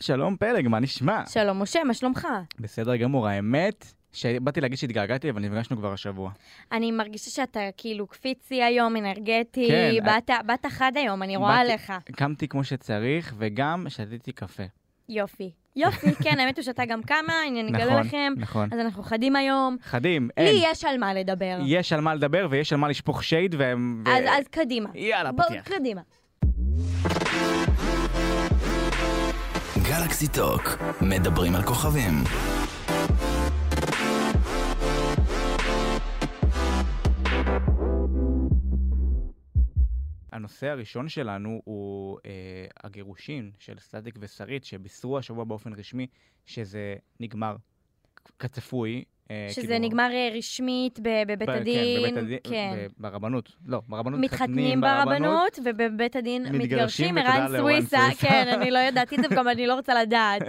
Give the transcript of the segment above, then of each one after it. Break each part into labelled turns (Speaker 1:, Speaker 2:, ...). Speaker 1: שלום פלג, מה נשמע?
Speaker 2: שלום משה, מה שלומך?
Speaker 1: בסדר גמור, האמת שבאתי להגיד שהתגעגעתי, אבל נפגשנו כבר השבוע.
Speaker 2: אני מרגישה שאתה כאילו קפיצי היום, אנרגטי,
Speaker 1: כן,
Speaker 2: באת, באת חד היום, אני רואה
Speaker 1: באתי-
Speaker 2: עליך.
Speaker 1: קמתי כמו שצריך, וגם שתיתי קפה.
Speaker 2: יופי. יופי, כן, האמת הוא שאתה גם כמה, אני אני אגלה
Speaker 1: נכון,
Speaker 2: לכם.
Speaker 1: נכון.
Speaker 2: אז אנחנו חדים היום.
Speaker 1: חדים,
Speaker 2: לי
Speaker 1: אין.
Speaker 2: יש על מה לדבר.
Speaker 1: יש על מה לדבר ויש על מה לשפוך שייד, והם... ו-
Speaker 2: אז, אז קדימה.
Speaker 1: יאללה,
Speaker 2: בואו,
Speaker 1: פתיח.
Speaker 2: קדימה.
Speaker 3: גלקסי טוק, מדברים על כוכבים.
Speaker 1: הנושא הראשון שלנו הוא אה, הגירושין של סטטיק ושרית, שבישרו השבוע באופן רשמי שזה נגמר כ- כצפוי. אה,
Speaker 2: שזה
Speaker 1: כאילו-
Speaker 2: נגמר אה, רשמית ב- בבית
Speaker 1: ב-
Speaker 2: הדין.
Speaker 1: כן, בבית הדין,
Speaker 2: כן.
Speaker 1: ב- ברבנות, לא, ברבנות
Speaker 2: מתחתנים ברבנות, ובבית הדין
Speaker 1: מתגרשים,
Speaker 2: מתגרשים,
Speaker 1: ותודה
Speaker 2: ערן
Speaker 1: לערן
Speaker 2: סוויסה,
Speaker 1: סוויסה.
Speaker 2: כן, אני לא ידעתי את זה, וגם אני לא רוצה לדעת.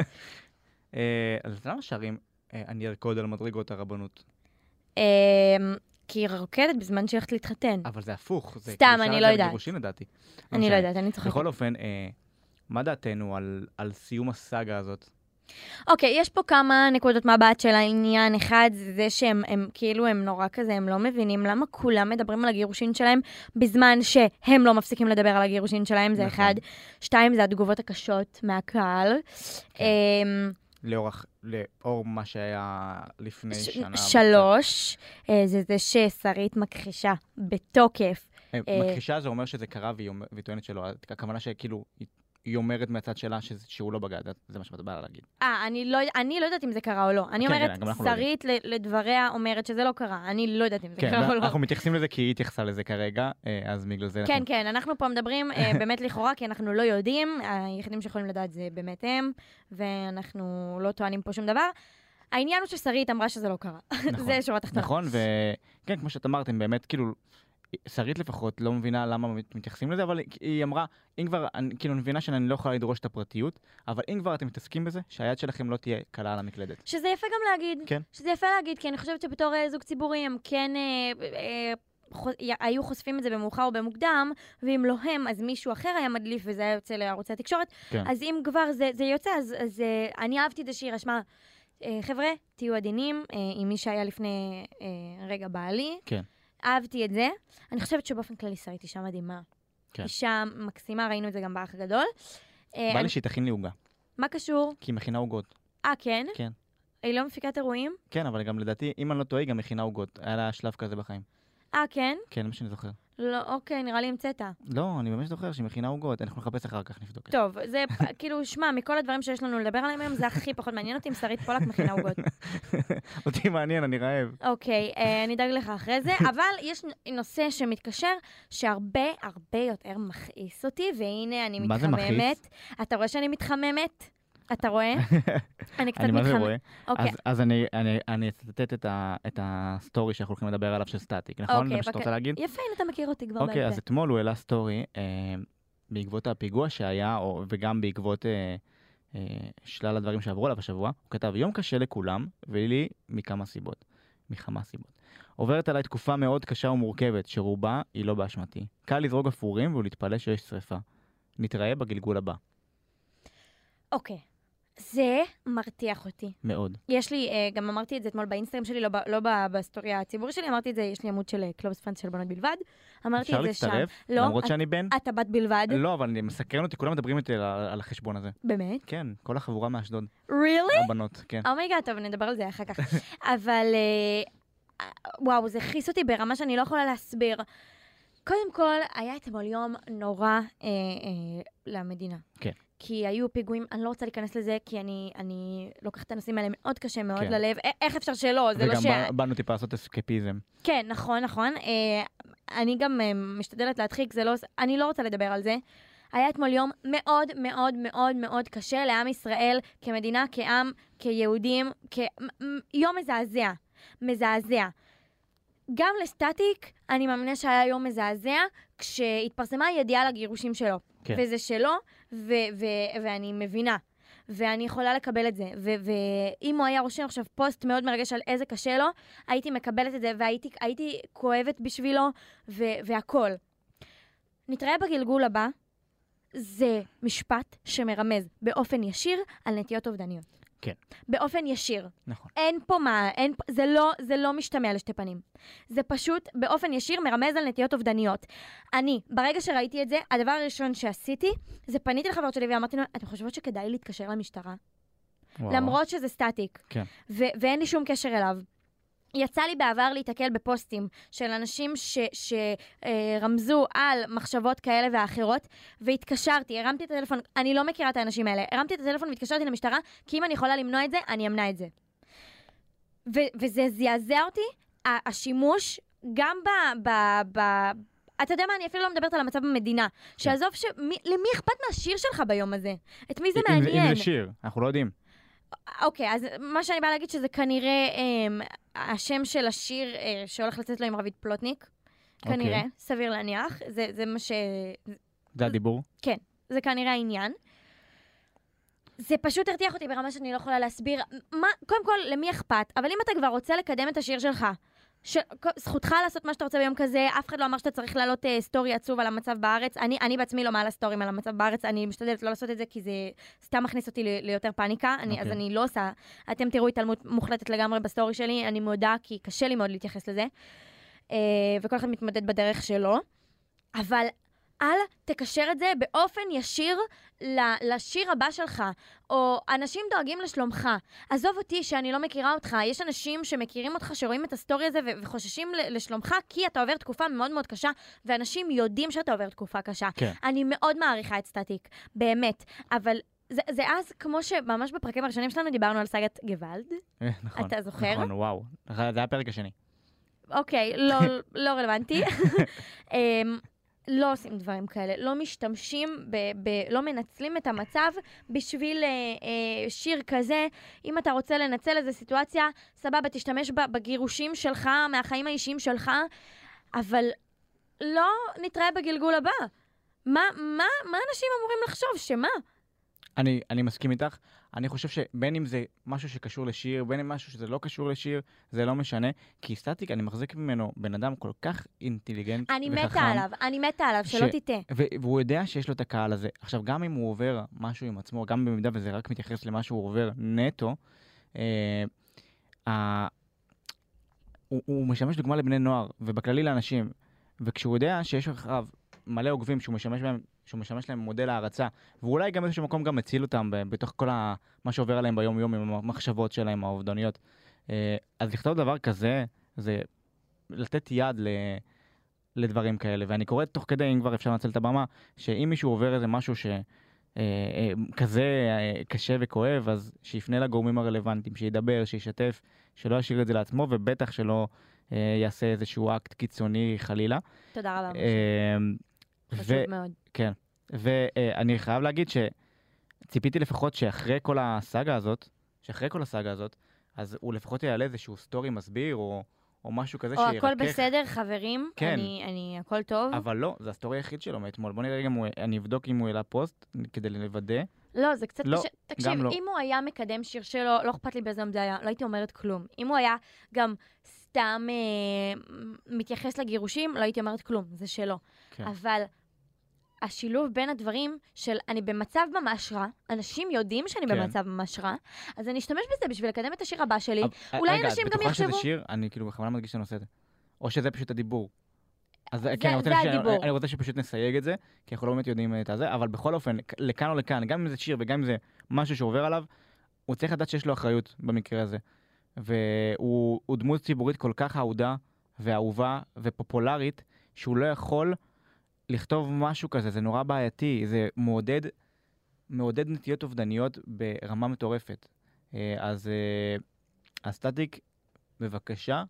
Speaker 1: אה, אז למה שרים אה, אני ארקוד על מדרגות הרבנות?
Speaker 2: אמ, כי היא רוקדת בזמן שהיא הולכת להתחתן.
Speaker 1: אבל זה הפוך. זה
Speaker 2: סתם,
Speaker 1: כאילו
Speaker 2: אני
Speaker 1: שר את
Speaker 2: לא
Speaker 1: זה
Speaker 2: יודעת.
Speaker 1: בגירושין לדעתי.
Speaker 2: אני לא
Speaker 1: משנה.
Speaker 2: יודעת, אני צוחקת.
Speaker 1: בכל אופן, אה, מה דעתנו על, על סיום הסאגה הזאת?
Speaker 2: אוקיי, יש פה כמה נקודות מבט של העניין. אחד, זה זה שהם הם, כאילו, הם נורא כזה, הם לא מבינים למה כולם מדברים על הגירושין שלהם בזמן שהם לא מפסיקים לדבר על הגירושין שלהם, זה
Speaker 1: נכון.
Speaker 2: אחד. שתיים, זה התגובות הקשות מהקהל.
Speaker 1: כן.
Speaker 2: אמ,
Speaker 1: לאורך, לאור מה שהיה לפני
Speaker 2: ש-
Speaker 1: שנה.
Speaker 2: שלוש, אה, זה זה ששרית מכחישה בתוקף.
Speaker 1: אה,
Speaker 2: אה,
Speaker 1: מכחישה זה אומר שזה קרה והיא, אומר, והיא טוענת שלא, הכוונה שכאילו, היא- היא אומרת מהצד שלה שזה, שהוא לא בגד, זה מה שאת באה להגיד.
Speaker 2: אה, אני לא, אני לא יודעת אם זה קרה או לא. אני
Speaker 1: כן,
Speaker 2: אומרת,
Speaker 1: כן, גם אנחנו לא
Speaker 2: שרית ל- לדבריה אומרת שזה לא קרה. אני לא יודעת אם זה
Speaker 1: כן,
Speaker 2: קרה או לא.
Speaker 1: אנחנו מתייחסים לזה כי היא התייחסה לזה כרגע, אה, אז בגלל זה
Speaker 2: כן,
Speaker 1: אנחנו...
Speaker 2: כן, אנחנו פה מדברים אה, באמת לכאורה, כי אנחנו לא יודעים, היחידים שיכולים לדעת זה באמת הם, ואנחנו לא טוענים פה שום דבר. העניין הוא ששרית אמרה שזה לא קרה.
Speaker 1: נכון.
Speaker 2: זה שורה תחתונה.
Speaker 1: נכון, וכן, כמו שאת אמרתם, באמת, כאילו, שרית לפחות לא מבינה למה מת- מתייחסים לזה, אבל היא- היא אמרה, אם כבר, אני, כאילו, אני מבינה שאני לא יכולה לדרוש את הפרטיות, אבל אם כבר אתם מתעסקים בזה, שהיד שלכם לא תהיה קלה על המקלדת.
Speaker 2: שזה יפה גם להגיד.
Speaker 1: כן.
Speaker 2: שזה יפה להגיד, כי אני חושבת שבתור אה, זוג ציבורי הם כן אה, אה, חו- י- היו חושפים את זה במאוחר או במוקדם, ואם לא הם, אז מישהו אחר היה מדליף וזה היה יוצא לערוצי התקשורת.
Speaker 1: כן.
Speaker 2: אז אם כבר זה, זה יוצא, אז, אז אה, אני אהבתי את זה שהיא רשמה. אה, חבר'ה, תהיו עדינים אה, עם מי שהיה לפני אה, רגע בעלי.
Speaker 1: כן.
Speaker 2: אהבתי את זה. אני חושבת שבאופן כללי שרית אישה מדהימה.
Speaker 1: כן.
Speaker 2: אישה מקסימה, ראינו את זה גם באח הגדול. אה,
Speaker 1: בא
Speaker 2: אני-
Speaker 1: לי שהיא תכין לי עוגה,
Speaker 2: מה קשור?
Speaker 1: כי היא מכינה עוגות.
Speaker 2: אה, כן?
Speaker 1: כן.
Speaker 2: היא לא מפיקת אירועים?
Speaker 1: כן, אבל גם לדעתי, אם אני לא טועה, היא גם מכינה עוגות. היה לה שלב כזה בחיים.
Speaker 2: אה, כן?
Speaker 1: כן, זה מה שאני זוכר.
Speaker 2: לא, אוקיי, נראה לי המצאת.
Speaker 1: לא, אני באמת זוכר שהיא מכינה עוגות. אנחנו נחפש אחר כך, נבדוק. את זה.
Speaker 2: טוב, זה כאילו, שמע, מכל הדברים שיש לנו לדבר עליהם היום, זה הכי פחות מעניין אותי אם שרית פולק מכינה עוגות.
Speaker 1: אותי מעניין, אני רעב.
Speaker 2: אוקיי, אה, אני אדאג לך אחרי זה, אבל יש נ- נושא שמתקשר, שהרבה הרבה יותר מכעיס אותי, והנה אני מתחממת.
Speaker 1: מה זה מכעיס?
Speaker 2: אתה רואה שאני מתחממת? אתה רואה? אני קצת
Speaker 1: אני מה זה
Speaker 2: מתחממת.
Speaker 1: רואה.
Speaker 2: אוקיי,
Speaker 1: אז, אז אני, אני, אני אצטט את, ה, את הסטורי שאנחנו הולכים לדבר עליו של סטטיק, נכון?
Speaker 2: אוקיי,
Speaker 1: זה מה שאתה
Speaker 2: אוקיי.
Speaker 1: רוצה להגיד?
Speaker 2: יפה, הנה אתה מכיר אותי כבר
Speaker 1: אוקיי,
Speaker 2: בעל
Speaker 1: אז
Speaker 2: פה.
Speaker 1: אתמול הוא העלה סטורי אה, בעקבות הפיגוע שהיה, או, וגם בעקבות אה, אה, שלל הדברים שעברו עליו השבוע. הוא כתב, יום קשה לכולם, ולי מכמה סיבות. מכמה סיבות. עוברת עליי תקופה מאוד קשה ומורכבת, שרובה היא לא באשמתי. קל לזרוק אפורים ולהתפלא שיש שריפה. נתראה בגלגול הבא.
Speaker 2: אוקיי, זה מרתיח אותי.
Speaker 1: מאוד.
Speaker 2: יש לי, אה, גם אמרתי את זה אתמול באינסטגרם שלי, לא, ב- לא ב- בסטורי הציבורי שלי, אמרתי את זה, יש לי עמוד של אה, קלובס פאנס של בנות בלבד. אמרתי
Speaker 1: אפשר
Speaker 2: את זה שם.
Speaker 1: להצטרף?
Speaker 2: לא,
Speaker 1: למרות
Speaker 2: את-
Speaker 1: שאני בן?
Speaker 2: אתה בת בלבד,
Speaker 1: לא, אבל אני- מסקרן אותי, כולם מדברים איתי על ה- על החשבון הזה.
Speaker 2: באמת?
Speaker 1: כן, כל החבורה מאשדוד.
Speaker 2: really?
Speaker 1: הבנות, כן.
Speaker 2: אומייגאד, טוב, נדבר על זה אחר כך. אבל אה, וואו, זה הכעיס אותי ברמה שאני לא יכולה להסביר. קודם כל, היה אתמול יום נורא אה, אה, למדינה.
Speaker 1: כן.
Speaker 2: כי היו פיגועים, אני לא רוצה להיכנס לזה, כי אני, אני לוקחת את הנושאים האלה מאוד קשה, מאוד
Speaker 1: כן.
Speaker 2: ללב. א- איך אפשר שלא? זה לא
Speaker 1: וגם
Speaker 2: ש...
Speaker 1: בא- באנו טיפה לעשות אסקפיזם.
Speaker 2: כן, נכון, נכון. אה, אני גם אה, משתדלת להדחיק, זה לא... אני לא רוצה לדבר על זה. היה אתמול יום מאוד מאוד מאוד מאוד קשה לעם ישראל, כמדינה, כעם, כיהודים, כ... מ- מ- יום מזעזע. מזעזע. גם לסטטיק, אני מאמינה שהיה יום מזעזע, כשהתפרסמה הידיעה על הגירושים שלו.
Speaker 1: כן.
Speaker 2: וזה שלו, ו- ו- ואני מבינה. ואני יכולה לקבל את זה. ו- ואם הוא היה רושם עכשיו פוסט מאוד מרגש על איזה קשה לו, הייתי מקבלת את זה, והייתי הייתי כואבת בשבילו, ו- והכול. נתראה בגלגול הבא. זה משפט שמרמז באופן ישיר על נטיות אובדניות.
Speaker 1: כן.
Speaker 2: באופן ישיר.
Speaker 1: נכון.
Speaker 2: אין פה מה, אין, פה- זה, לא, זה לא משתמע לשתי פנים. זה פשוט באופן ישיר מרמז על נטיות אובדניות. אני, ברגע שראיתי את זה, הדבר הראשון שעשיתי, זה פניתי לחברות שלי ואמרתי להם, אתן חושבות שכדאי להתקשר למשטרה?
Speaker 1: וואו.
Speaker 2: למרות שזה סטטיק.
Speaker 1: כן.
Speaker 2: ו- ואין לי שום קשר אליו. יצא לי בעבר להיתקל בפוסטים של אנשים שרמזו על מחשבות כאלה ואחרות, והתקשרתי, הרמתי את הטלפון, אני לא מכירה את האנשים האלה, הרמתי את הטלפון והתקשרתי למשטרה, כי אם אני יכולה למנוע את זה, אני אמנע את זה. ו- וזה זעזע אותי, ה- השימוש, גם ב... ב-, ב- אתה יודע מה, אני אפילו לא מדברת על המצב במדינה.
Speaker 1: כן.
Speaker 2: שעזוב, ש... מי- למי אכפת מהשיר שלך ביום הזה? את מי זה
Speaker 1: אם
Speaker 2: מעניין?
Speaker 1: אם זה שיר, אנחנו לא יודעים.
Speaker 2: אוקיי, אז מה שאני באה להגיד שזה כנראה אמ, השם של השיר אה, שהולך לצאת לו עם רביד פלוטניק.
Speaker 1: אוקיי.
Speaker 2: כנראה, סביר להניח. זה, זה מה ש...
Speaker 1: זה הדיבור.
Speaker 2: זה כנראה העניין. זה פשוט הרתיח אותי ברמה שאני לא יכולה להסביר. מה, קודם כל, למי אכפת? אבל אם אתה כבר רוצה לקדם את השיר שלך, ש... ק- זכותך לעשות מה שאתה רוצה ביום כזה, אף אחד לא אמר שאתה צריך להעלות אה, סטורי עצוב על המצב בארץ. אני, אני בעצמי לא מעלה סטורים על המצב בארץ, אני משתדלת לא לעשות את זה כי זה סתם מכניס אותי ל- ליותר פאניקה, אני, okay. אז
Speaker 1: אוקיי.
Speaker 2: אני לא עושה. אתם תראו התעלמות מוחלטת לגמרי בסטורי שלי, אני מודה כי קשה לי מאוד להתייחס לזה, אה, וכל אחד מתמודד בדרך שלו. אבל אל תקשר את זה באופן ישיר ל- לשיר הבא שלך, או אנשים דואגים לשלומך. עזוב אותי שאני לא מכירה אותך, יש אנשים שמכירים אותך, שרואים את הסטורי הזה ו- וחוששים ל- לשלומך, כי אתה עובר תקופה מאוד מאוד קשה, ואנשים יודעים שאתה עובר תקופה קשה.
Speaker 1: כן.
Speaker 2: אני מאוד מעריכה את סטטיק, באמת, אבל... זה, זה אז, כמו שממש בפרקים הראשונים שלנו דיברנו על סאגת גוואלד,
Speaker 1: אה, נכון.
Speaker 2: אתה זוכר?
Speaker 1: נכון, וואו. זה הפרק השני.
Speaker 2: אוקיי, לא, לא רלוונטי. אמ, לא עושים דברים כאלה, לא משתמשים, ב, ב, לא מנצלים את המצב בשביל אה, אה, שיר כזה. אם אתה רוצה לנצל איזו סיטואציה, סבבה, תשתמש בה בגירושים שלך, מהחיים האישיים שלך, אבל לא נתראה בגלגול הבא. מה, מה, מה אנשים אמורים לחשוב? שמה?
Speaker 1: אני, אני מסכים איתך. אני חושב שבין אם זה משהו שקשור לשיר, בין אם משהו שזה לא קשור לשיר, זה לא משנה. כי סטטיק, אני מחזיק ממנו בן אדם כל כך אינטליגנט
Speaker 2: אני
Speaker 1: וחכם.
Speaker 2: מתה עליו, אני מתה עליו, שלא
Speaker 1: ש-
Speaker 2: תטעה.
Speaker 1: ו- והוא יודע שיש לו את הקהל הזה. עכשיו, גם אם הוא עובר משהו עם עצמו, גם במידה וזה רק מתייחס למה שהוא עובר נטו, אה, ה- הוא, הוא משמש דוגמה לבני נוער, ובכללי לאנשים. וכשהוא יודע שיש אחריו מלא עוקבים שהוא משמש בהם, שהוא משמש להם מודל הערצה, ואולי גם באיזשהו מקום גם מציל אותם ב- בתוך כל ה, מה שעובר עליהם ביום-יום עם המחשבות שלהם האובדניות. אה, אז לכתוב דבר כזה, זה לתת יד ל... לדברים כאלה, ואני קורא תוך כדי, אם כבר אפשר לנצל את הבמה, שאם מישהו עובר איזה משהו ש... אה, אה, כזה אה, קשה וכואב, אז שיפנה לגורמים הרלוונטיים, שידבר, שישתף, שלא ישאיר את זה לעצמו, ובטח שלא אה, יעשה איזשהו אקט קיצוני חלילה.
Speaker 2: תודה רבה, משה,
Speaker 1: אה,
Speaker 2: חשוב מאוד.
Speaker 1: ואני חייב להגיד שציפיתי לפחות שאחרי כל הסאגה הזאת, שאחרי כל הסאגה הזאת, אז הוא לפחות יעלה איזשהו סטורי מסביר, או, או משהו כזה
Speaker 2: או הכל בסדר, חברים,
Speaker 1: כן.
Speaker 2: אני, אני, הכל טוב.
Speaker 1: אבל לא, זה הסטורי היחיד שלו מאתמול. בוא נראה רגע, אם הוא- אני אבדוק אם הוא העלה פוסט, כדי לוודא.
Speaker 2: לא, זה קצת
Speaker 1: לא,
Speaker 2: קשה. תקשיב,
Speaker 1: לא.
Speaker 2: אם הוא היה מקדם שיר שלו, לא אכפת לי באיזה יום זה היה, לא הייתי אומרת כלום. אם הוא היה גם סתם אה, מתייחס לגירושים, לא הייתי אומרת כלום, זה שלו.
Speaker 1: כן.
Speaker 2: אבל השילוב בין הדברים של אני במצב ממש רע, אנשים יודעים שאני
Speaker 1: כן.
Speaker 2: במצב ממש רע, אז אני אשתמש בזה בשביל לקדם את השיר הבא שלי.
Speaker 1: אבל-
Speaker 2: אולי
Speaker 1: אה, רגע, את
Speaker 2: אנשים גם
Speaker 1: בטוחה שזה
Speaker 2: יחשבו-
Speaker 1: שיר? אני כאילו בכוונה מדגיש את הנושא הזה. או שזה פשוט הדיבור. אז
Speaker 2: זה-
Speaker 1: כן, אני רוצה
Speaker 2: זה
Speaker 1: שאני-
Speaker 2: הדיבור.
Speaker 1: אני רוצה שפשוט נסייג את זה, כי אנחנו לא באמת יודעים את הזה, אבל בכל אופן, כ- לכאן או לכאן, גם אם זה שיר וגם אם זה משהו שעובר עליו, הוא צריך לדעת שיש לו אחריות במקרה הזה. והוא הוא דמות ציבורית כל כך אהודה ואהובה ופופולרית, שהוא לא יכול לכתוב משהו כזה, זה נורא בעייתי, זה מעודד, מעודד נטיות אובדניות ברמה מטורפת. אה, אז אה, הסטטיק, בבקשה,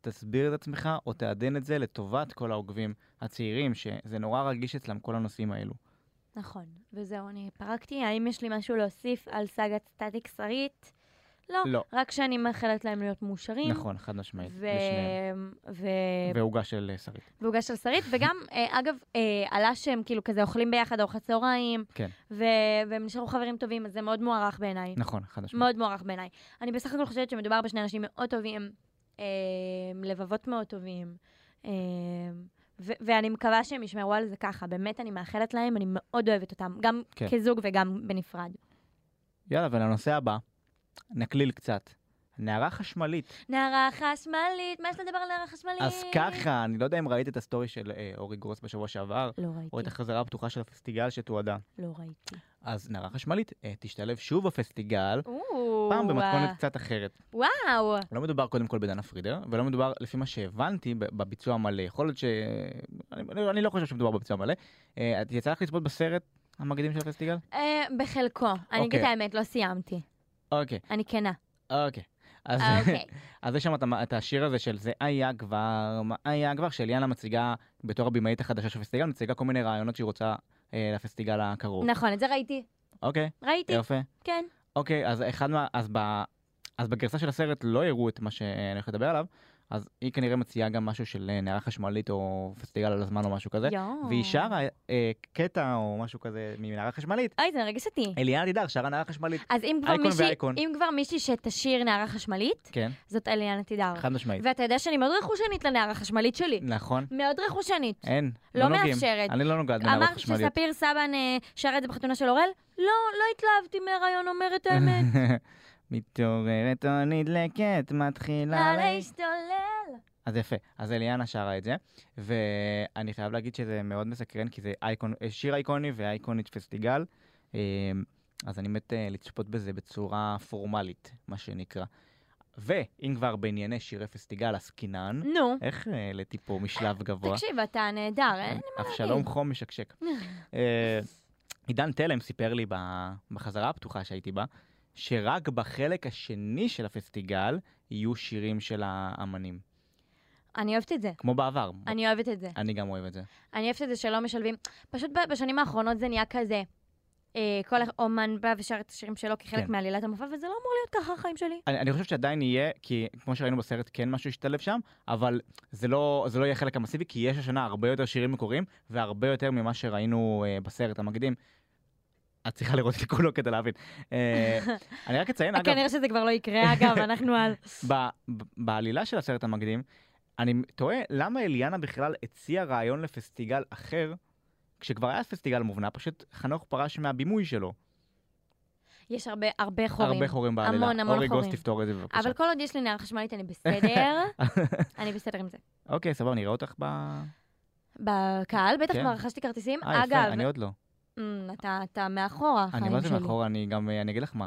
Speaker 1: תסביר את עצמך או תעדן את זה לטובת כל העוקבים הצעירים, שזה נורא רגיש אצלם כל הנושאים האלו.
Speaker 2: נכון, וזהו, אני פרקתי. האם יש לי משהו להוסיף על סאגת סטטיק שרית? לא.
Speaker 1: לא.
Speaker 2: רק שאני מאחלת להם להיות מאושרים.
Speaker 1: נכון, חד משמעית,
Speaker 2: ו...
Speaker 1: לשניהם.
Speaker 2: ו...
Speaker 1: ועוגה של אה, שרית.
Speaker 2: ועוגה של שרית, וגם, אה, אגב, אה, עלה שהם כאילו כזה אוכלים ביחד ארוחת צהריים,
Speaker 1: כן.
Speaker 2: ו- והם נשארו חברים טובים, אז זה מאוד מוערך בעיניי.
Speaker 1: נכון, חד משמעית.
Speaker 2: מאוד מוערך בעיניי. אני בסך הכל חושבת שמדובר בשני אנשים מאוד טובים, אה, לבבות מאוד טובים, אה, ו- ואני מקווה שהם ישמרו על זה ככה. באמת, אני מאחלת להם, אני מאוד אוהבת אותם, גם
Speaker 1: כן.
Speaker 2: כזוג וגם בנפרד.
Speaker 1: יאללה, ולנושא הבא, נקליל קצת. נערה חשמלית.
Speaker 2: נערה חשמלית, מה יש לדבר על נערה חשמלית?
Speaker 1: אז ככה, אני לא יודע אם ראית את הסטורי של אה, אורי גרוס בשבוע שעבר,
Speaker 2: לא
Speaker 1: או את
Speaker 2: ראיתי,
Speaker 1: החזרה הפתוחה של הפסטיגל שתועדה.
Speaker 2: לא ראיתי.
Speaker 1: אז נערה חשמלית אה, תשתלב שוב בפסטיגל,
Speaker 2: או,
Speaker 1: פעם
Speaker 2: אה,
Speaker 1: במתכונת קצת אחרת.
Speaker 2: וואו,
Speaker 1: לא מדובר קודם כל בדנה פרידר, ולא מדובר, לפי מה שהבנתי, ב- בביצוע המלא. יכול להיות ש... אני, אני- אני לא חושב שמדובר בביצוע המלא. אה, את יצא לך לצפות בסרט המגדים של הפסטיגל?
Speaker 2: אה, בחלקו. אני אגיד
Speaker 1: אוקיי.
Speaker 2: את האמת, לא סיימתי.
Speaker 1: אוקיי,
Speaker 2: אני כנה.
Speaker 1: אוקיי. אז,
Speaker 2: אה, אוקיי.
Speaker 1: אז יש שם את, המ- את השיר הזה של זה היה כבר, מה היה כבר, שאליאנה מציגה, בתור הבמאית החדשה של הפסטיגל, מציגה כל מיני רעיונות שהיא רוצה אה, לפסטיגל הקרוב.
Speaker 2: נכון, את זה ראיתי.
Speaker 1: אוקיי,
Speaker 2: ראיתי,
Speaker 1: יפה.
Speaker 2: כן.
Speaker 1: אוקיי, אז אחד מה... אז, ב, אז בגרסה של הסרט לא הראו את מה שאני הולך לדבר עליו, אז היא כנראה מציעה גם משהו של אה, נערה חשמלית או פסטיגל על הזמן או משהו כזה.
Speaker 2: יואו.
Speaker 1: והיא שרה אה, קטע או משהו כזה מנערה חשמלית.
Speaker 2: אוי, זה מרגש אותי.
Speaker 1: אליאנה תדהר שרה נערה חשמלית.
Speaker 2: אז אם כבר
Speaker 1: אייקון
Speaker 2: מישהי-
Speaker 1: ואייקון.
Speaker 2: אם כבר מישהי שתשיר נערה חשמלית,
Speaker 1: כן,
Speaker 2: זאת אליאנה תידר.
Speaker 1: חד משמעית.
Speaker 2: ואתה יודע שאני מאוד רכושנית לנערה החשמלית שלי.
Speaker 1: נכון,
Speaker 2: מאוד רכושנית.
Speaker 1: אין,
Speaker 2: לא
Speaker 1: נוגעים.
Speaker 2: מאפשרת.
Speaker 1: אני לא נוגעת בנערות
Speaker 2: אמרת
Speaker 1: חשמליות.
Speaker 2: שספיר סבן אה, שרה את זה בחתונה של אורל? לא, לא התלהבתי מהרעיון, אומרת האמת.
Speaker 1: מתעוררת או נדלקת, מתחילה
Speaker 2: לה
Speaker 1: להשתולל.
Speaker 2: להשתולל.
Speaker 1: אז יפה, אז אליאנה שרה את זה, ואני חייב להגיד שזה מאוד מסקרן, כי זה אייקון, אה, שיר אייקוני ואייקונית פסטיגל, אה, אז אני מת אה, לצפות בזה בצורה פורמלית, מה שנקרא. ואם כבר בענייני שירי פסטיגל עסקינן,
Speaker 2: נו,
Speaker 1: איך אה, העליתי פה משלב גבוה? אה,
Speaker 2: תקשיב, אתה נהדר, אה?
Speaker 1: כן.
Speaker 2: אין?
Speaker 1: אבשלום חום משקשק. אה, עידן תלם סיפר לי ב- בחזרה הפתוחה שהייתי בה, שרק בחלק השני של הפסטיגל יהיו שירים של האמנים.
Speaker 2: אני אוהבת את זה.
Speaker 1: כמו בעבר.
Speaker 2: אני אוהבת את זה.
Speaker 1: אני גם אוהב את זה.
Speaker 2: אני אוהבת את זה שלא משלבים. פשוט ב- בשנים האחרונות זה נהיה כזה. אה, כל אומן בא ושר את השירים שלו כחלק
Speaker 1: כן.
Speaker 2: מעלילת המופע, וזה לא אמור להיות ככה החיים שלי.
Speaker 1: אני, אני חושב שעדיין יהיה, כי כמו שראינו בסרט, כן משהו ישתלב שם, אבל זה לא, זה לא יהיה חלק המסיבי, כי יש השנה הרבה יותר שירים מקוריים, והרבה יותר ממה שראינו אה, בסרט המקדים. את צריכה לראות את כולו כדי להבין. אה, אני רק אציין, אגב,
Speaker 2: כנראה שזה כבר לא יקרה, אגב, אנחנו על...
Speaker 1: ב- ב- בעלילה של הסרט המקדים, אני תוהה למה אליאנה בכלל הציעה רעיון לפסטיגל אחר, כשכבר היה פסטיגל מובנה, פשוט חנוך פרש מהבימוי שלו.
Speaker 2: יש הרבה, הרבה חורים.
Speaker 1: הרבה חורים בעלילה.
Speaker 2: המון, המון
Speaker 1: אורי גוס
Speaker 2: חורים.
Speaker 1: תפתור את זה בבקשה.
Speaker 2: אבל כל עוד יש לי נערה חשמלית, אני בסדר. אני בסדר עם זה.
Speaker 1: אוקיי, סבבה, נראה אותך ב...
Speaker 2: בקהל, בטח
Speaker 1: כן.
Speaker 2: כבר רכשתי כרטיסים.
Speaker 1: אה, יפה,
Speaker 2: אגב,
Speaker 1: אני עוד לא.
Speaker 2: אמ, אתה- אתה מאחורה,
Speaker 1: אני
Speaker 2: החיים
Speaker 1: באתי
Speaker 2: שלי.
Speaker 1: מאחורה, אני גם, אה, אני אגיד לך מה.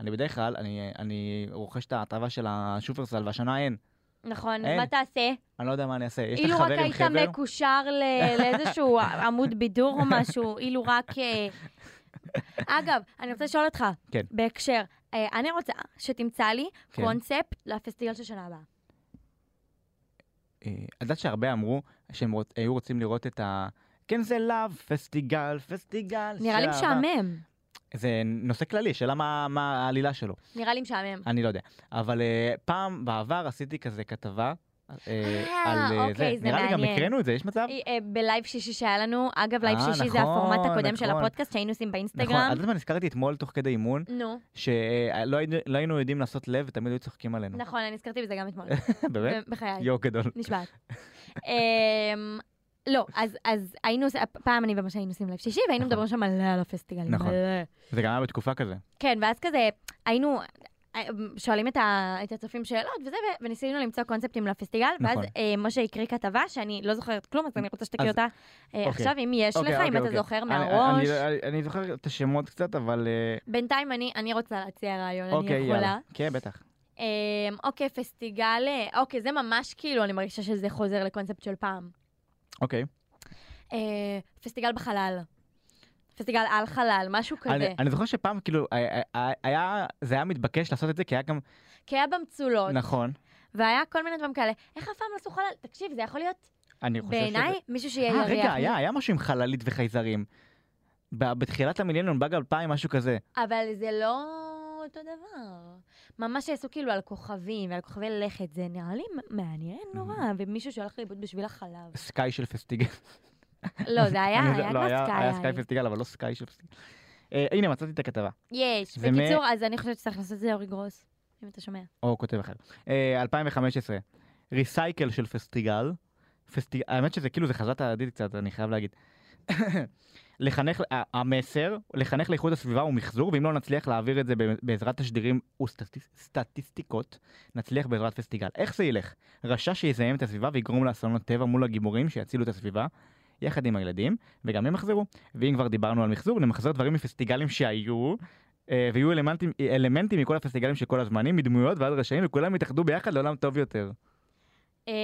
Speaker 1: אני בדרך כלל, אני, אני רוכש את ההטבה של השופרסל, והשנה אין.
Speaker 2: נכון, אז
Speaker 1: אין.
Speaker 2: מה תעשה?
Speaker 1: אני לא יודע מה אני אעשה. יש לך
Speaker 2: אילו רק
Speaker 1: חבר עם
Speaker 2: היית
Speaker 1: חבר?
Speaker 2: מקושר ל- לאיזשהו עמוד בידור או משהו, אילו רק... אה, אגב, אני רוצה לשאול אותך,
Speaker 1: כן.
Speaker 2: בהקשר, אה, אני רוצה שתמצא לי
Speaker 1: כן.
Speaker 2: קונספט לפסטיגל של שנה הבאה.
Speaker 1: אה, את יודעת שהרבה אמרו שהם רוצ- היו רוצים לראות את ה... כן, זה לאו, פסטיגל, פסטיגל.
Speaker 2: נראה לי
Speaker 1: של אהבה.
Speaker 2: משעמם.
Speaker 1: זה נושא כללי, שאלה מה, מה העלילה שלו.
Speaker 2: נראה לי משעמם.
Speaker 1: אני לא יודע. אבל אה, פעם בעבר עשיתי כזה כתבה. אה,
Speaker 2: אה,
Speaker 1: על אה,
Speaker 2: אוקיי, זה
Speaker 1: נראה לי גם
Speaker 2: מעניין.
Speaker 1: הקראנו את זה, יש מצב?
Speaker 2: אה, אה, בלייב שישי שהיה לנו, אגב, לייב
Speaker 1: אה,
Speaker 2: שישי
Speaker 1: נכון,
Speaker 2: זה הפורמט הקודם של
Speaker 1: נכון.
Speaker 2: הפודקאסט שהיינו עושים
Speaker 1: נכון, את
Speaker 2: באינסטגרם.
Speaker 1: יודעת מה נזכרתי אתמול תוך כדי אימון,
Speaker 2: נו,
Speaker 1: שלא היינו יודעים לעשות לב ותמיד היו צוחקים עלינו.
Speaker 2: נכון, אני נזכרתי בזה גם אתמול.
Speaker 1: באמת?
Speaker 2: בחיי.
Speaker 1: יואו גדול.
Speaker 2: נשבעת. אמ, לא, אז, אז היינו, עוש- פעם אני ומשה היינו עושים לב שישי, והיינו
Speaker 1: נכון.
Speaker 2: מדברים שם מלא על הפסטיגלים.
Speaker 1: נכון.
Speaker 2: מלא.
Speaker 1: זה גם היה בתקופה כזה.
Speaker 2: כן, ואז כזה, היינו אה, שואלים את, ה, את הצופים שאלות וזה, ו, וניסינו למצוא קונספטים לפסטיגל, ואז
Speaker 1: נכון.
Speaker 2: אה, משה הקריא כתבה שאני לא זוכרת כלום, אז אני רוצה שתקריא
Speaker 1: אז-
Speaker 2: אותה אה,
Speaker 1: אוקיי.
Speaker 2: עכשיו, אם יש
Speaker 1: אוקיי,
Speaker 2: לך, אם
Speaker 1: אוקיי,
Speaker 2: אתה
Speaker 1: אוקיי.
Speaker 2: זוכר
Speaker 1: אני-
Speaker 2: מהראש.
Speaker 1: אני- אני- אני זוכר את השמות קצת, אבל... אה,
Speaker 2: בינתיים אני, אני רוצה להציע רעיון,
Speaker 1: אוקיי,
Speaker 2: אני יכולה.
Speaker 1: יאללה. כן, בטח.
Speaker 2: אמ, אוקיי, פסטיגל, אה, אוקיי, זה ממש כאילו, אני מרגישה שזה חוזר לקונספט של פעם.
Speaker 1: אוקיי.
Speaker 2: אה, פסטיגל בחלל. פסטיגל על חלל, משהו כזה.
Speaker 1: אני- אני זוכר שפעם, כאילו, היה- היה- היה- זה היה מתבקש לעשות את זה, כי היה גם...
Speaker 2: כי היה במצולות,
Speaker 1: נכון.
Speaker 2: והיה כל מיני דברים כאלה. איך אף פעם לא עשו חלל? תקשיב, זה יכול להיות
Speaker 1: אני חושב שזה...
Speaker 2: בעיניי מישהו שיהיה
Speaker 1: אה,
Speaker 2: ירח.
Speaker 1: רגע, היה, היה משהו עם חללית וחייזרים. ב- בתחילת המילניון, באג 2000, משהו כזה.
Speaker 2: אבל זה לא אותו דבר. ממש יעשו כאילו על כוכבים ועל כוכבי לכת, זה נראה לי מ- מעניין נורא,
Speaker 1: אה.
Speaker 2: ומישהו שהולך לאיבוד בשביל החלב.
Speaker 1: סקאי של פסטיגל.
Speaker 2: לא, זה היה,
Speaker 1: אני-
Speaker 2: היה
Speaker 1: לא,
Speaker 2: כבר
Speaker 1: היה סקאי
Speaker 2: סקאי.
Speaker 1: פסטיגל, אבל לא סקאי של פסטיגל. אה, הנה, מצאתי את הכתבה.
Speaker 2: יש.
Speaker 1: זה מ-
Speaker 2: בקיצור, אז אני חושבת שצריך לעשות את זה לאורי גרוס, אם אתה שומע.
Speaker 1: או כותב אחר. אה, 2015, ריסייקל של פסטיגל, פסטי... האמת שזה כאילו זה חזרת הדית קצת, אני חייב להגיד. לחנך, ה- המסר, לחנך לאיכות הסביבה ומחזור, ואם לא נצליח להעביר את זה ב- בעזרת תשדירים וסטטיסטיקות, נצליח בעזרת פסטיגל. איך זה ילך? רשע שיזהם את הסביבה ויגרום לאסונות טבע מול הגיבורים שיצילו את הסביבה, יחד עם הילדים, וגם הם יחזרו. ואם כבר דיברנו על מחזור, נמחזר דברים מפסטיגלים שהיו, אה, ויהיו אלמנטים, אלמנטים מכל הפסטיגלים של כל הזמנים, מדמויות ועד רשעים, וכולם יתאחדו ביחד לעולם טוב יותר.
Speaker 2: אה,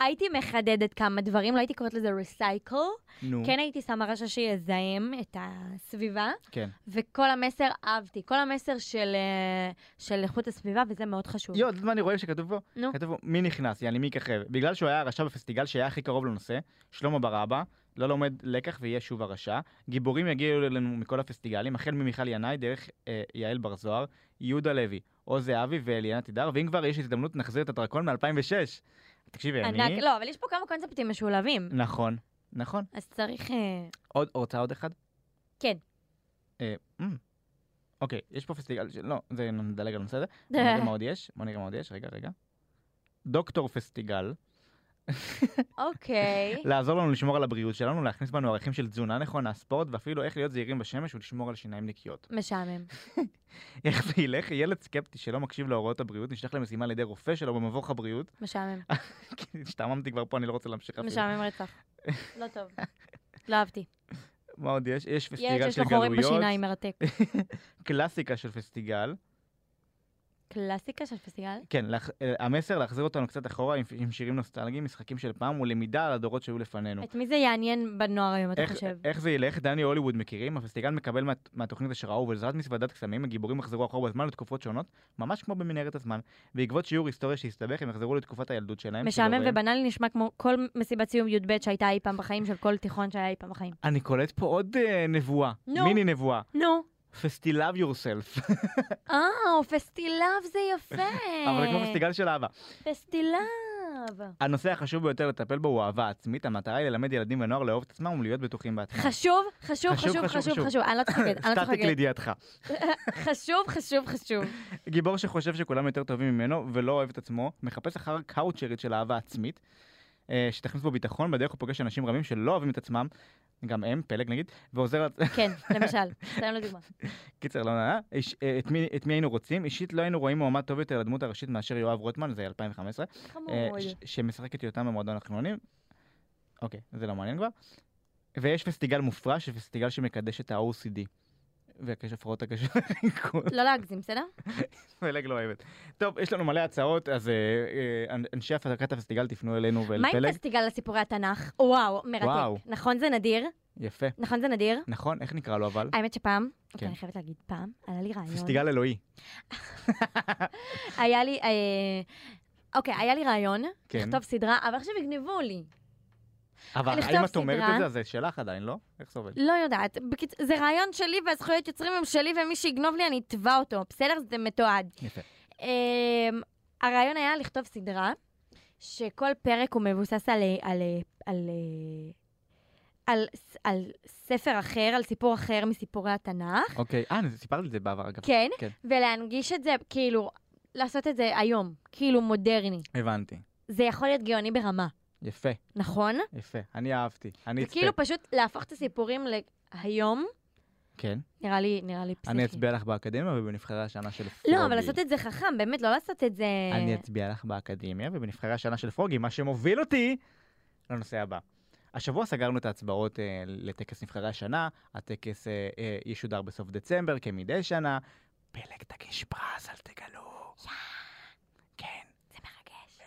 Speaker 2: הייתי מחדדת כמה דברים, לא הייתי קוראת לזה ריסייקל.
Speaker 1: נו.
Speaker 2: כן הייתי שמה רשע שיזהם את הסביבה,
Speaker 1: כן.
Speaker 2: וכל המסר אהבתי. כל המסר של, אה, של איכות הסביבה, וזה מאוד חשוב.
Speaker 1: יואו, את יודעת מה אני רואה שכתוב פה?
Speaker 2: נו.
Speaker 1: כתוב פה, מי נכנס, יעני מי יככב. בגלל שהוא היה הרשע בפסטיגל שהיה הכי קרוב לנושא, שלמה ברבא, לא לומד לקח ויהיה שוב הרשע. גיבורים יגיעו אלינו מכל הפסטיגלים, החל ממיכל ינאי, דרך אה, יעל בר זוהר, יהודה לוי, עוז זהבי ואליאנה תידר, ואם כבר יש הזדמנות נחזיר את הדרקון מ-2006. תקשיבי, אני...
Speaker 2: ענק, לא, אבל יש פה כמה קונספטים משולבים.
Speaker 1: נכון, נכון.
Speaker 2: אז צריך... אה,
Speaker 1: עוד, רוצה עוד אחד?
Speaker 2: כן.
Speaker 1: אה, מ, אוקיי, יש פה פסטיגל, של- לא, זה נדלג על הנושא הזה. בוא נראה מה עוד יש, בוא נראה מה עוד יש, רגע, רגע. דוקטור פסטיגל,
Speaker 2: אוקיי.
Speaker 1: לעזור לנו לשמור על הבריאות שלנו, להכניס בנו ערכים של תזונה נכונה, ספורט, ואפילו איך להיות זהירים בשמש ולשמור על שיניים נקיות.
Speaker 2: משעמם.
Speaker 1: איך זה ילך? ילד סקפטי שלא מקשיב להוראות הבריאות, נשלח למשימה על ידי רופא שלו במבוך הבריאות.
Speaker 2: משעמם.
Speaker 1: כי השתעממתי כבר פה, אני לא רוצה להמשיך אפילו.
Speaker 2: משעמם רצח. לא טוב. לא אהבתי.
Speaker 1: מה עוד יש? יש
Speaker 2: ילד
Speaker 1: פסטיגל
Speaker 2: שיש
Speaker 1: של
Speaker 2: לו חורים
Speaker 1: גלויות,
Speaker 2: בשיניים מרתק.
Speaker 1: קלאסיקה של פסטיגל.
Speaker 2: קלאסיקה של פסטיגל?
Speaker 1: כן, לח- אה, המסר להחזיר אותנו קצת אחורה עם- עם שירים נוסטלגיים, משחקים של פעם ולמידה על הדורות שהיו לפנינו.
Speaker 2: את מי זה יעניין בנוער היום, אתה
Speaker 1: איך-
Speaker 2: חושב?
Speaker 1: איך זה ילך? דני הוליווד מכירים, הפסטיגל מקבל מה- מהתוכנית השראה ובעזרת מזוודת קסמים, הגיבורים יחזרו אחורה בזמן לתקופות שונות, ממש כמו במנהרת הזמן. בעקבות שיעור היסטוריה שהסתבך, הם יחזרו לתקופת הילדות שלהם. של
Speaker 2: משעמם
Speaker 1: הוריהם.
Speaker 2: ובנאלי נשמע כמו כל מסיבת סיום י"ב שהייתה אי פעם בחיים של כל תיכון שהיה אי פעם בחיים.
Speaker 1: אני קולט פה עוד אה, נבואה,
Speaker 2: נו.
Speaker 1: מיני נבואה.
Speaker 2: נו.
Speaker 1: פסטילאב יורסלף.
Speaker 2: אה, פסטילב זה יפה.
Speaker 1: אבל זה כמו פסטיגל של אהבה.
Speaker 2: פסטילב.
Speaker 1: הנושא החשוב ביותר לטפל בו הוא אהבה עצמית, המטרה היא ללמד ילדים ונוער לאהוב את עצמם ולהיות בטוחים בעצמם.
Speaker 2: חשוב, חשוב, חשוב, חשוב, חשוב. אני לא צוחקת, אני לא
Speaker 1: סטטיק
Speaker 2: צוחקת.
Speaker 1: לידיעתך.
Speaker 2: חשוב, חשוב, חשוב.
Speaker 1: גיבור שחושב שכולם יותר טובים ממנו ולא אוהב את עצמו, מחפש אחר קאוצ'רית של אהבה עצמית, אה, שתכניס בו ביטחון, בדרך הוא פוגש אנשים רבים שלא אוהבים את עצמם, גם הם, פלג נגיד, ועוזר, לצ-
Speaker 2: כן, למשל. סתם לדוגמה.
Speaker 1: קיצר, לא נענה, איש- אה, את מי- את מי היינו רוצים, אישית לא היינו רואים מועמד טוב יותר לדמות הראשית מאשר יואב רוטמן, זה 2015,
Speaker 2: חמוד.
Speaker 1: אה, ש- שמשחקת יותם במועדון החילונים. אוקיי, זה לא מעניין כבר. ויש פסטיגל מופרע, שפסטיגל שמקדש את ה-OCD. והקשר הפרעות הקשר
Speaker 2: לא להגזים, בסדר?
Speaker 1: פלג לא אוהבת. טוב, יש לנו מלא הצעות, אז אה, אה, אנ- אנשי הפקת הפסטיגל תפנו אלינו ואל
Speaker 2: מה עם
Speaker 1: פלג.
Speaker 2: פסטיגל לסיפורי התנ"ך? וואו,
Speaker 1: וואו.
Speaker 2: מרתק. נכון זה נדיר?
Speaker 1: יפה.
Speaker 2: נכון זה נדיר?
Speaker 1: נכון, איך נקרא לו אבל?
Speaker 2: האמת שפעם,
Speaker 1: כן.
Speaker 2: אוקיי, אני חייבת להגיד, פעם, עלה לי רעיון.
Speaker 1: פסטיגל אלוהי.
Speaker 2: היה לי, אה, אוקיי, היה לי רעיון,
Speaker 1: כן.
Speaker 2: לכתוב סדרה, אבל עכשיו יגנבו לי.
Speaker 1: אבל
Speaker 2: לכתוב
Speaker 1: האם את אומרת
Speaker 2: סדרה.
Speaker 1: את זה? אז זה שלך עדיין, לא? איך זה עובד?
Speaker 2: לא יודעת. בקיצ... זה רעיון שלי והזכויות יוצרים הם שלי, ומי שיגנוב לי אני אתבע אותו, בסדר? זה מתועד.
Speaker 1: יפה.
Speaker 2: אה, הרעיון היה לכתוב סדרה, שכל פרק הוא מבוסס על... אה, על, אה, על, אה, על, ס- על ספר אחר, על סיפור אחר מסיפורי התנ"ך,
Speaker 1: אוקיי. אה, אני- סיפרתי את זה בעבר אגב.
Speaker 2: כן?
Speaker 1: כן.
Speaker 2: ולהנגיש את זה, כאילו, לעשות את זה היום, כאילו מודרני.
Speaker 1: הבנתי.
Speaker 2: זה יכול להיות גאוני ברמה,
Speaker 1: יפה,
Speaker 2: נכון?
Speaker 1: יפה. אני אהבתי. אני
Speaker 2: זה
Speaker 1: אצפה.
Speaker 2: כאילו פשוט להפוך את הסיפורים להיום,
Speaker 1: כן.
Speaker 2: נראה לי, נראה לי פסיכי.
Speaker 1: אני אצביע לך באקדמיה ובנבחרי השנה של פרוגי.
Speaker 2: לא, אבל לעשות את זה חכם, באמת, לא לעשות את זה...
Speaker 1: אני אצביע לך באקדמיה ובנבחרי השנה של פרוגי, מה שמוביל אותי לנושא הבא. השבוע סגרנו את ההצבעות אה, לטקס נבחרי השנה, הטקס אה, אה, ישודר בסוף דצמבר כמדי שנה. פלג תגיש פרס, אל תגלו. כן.
Speaker 2: זה מרגש.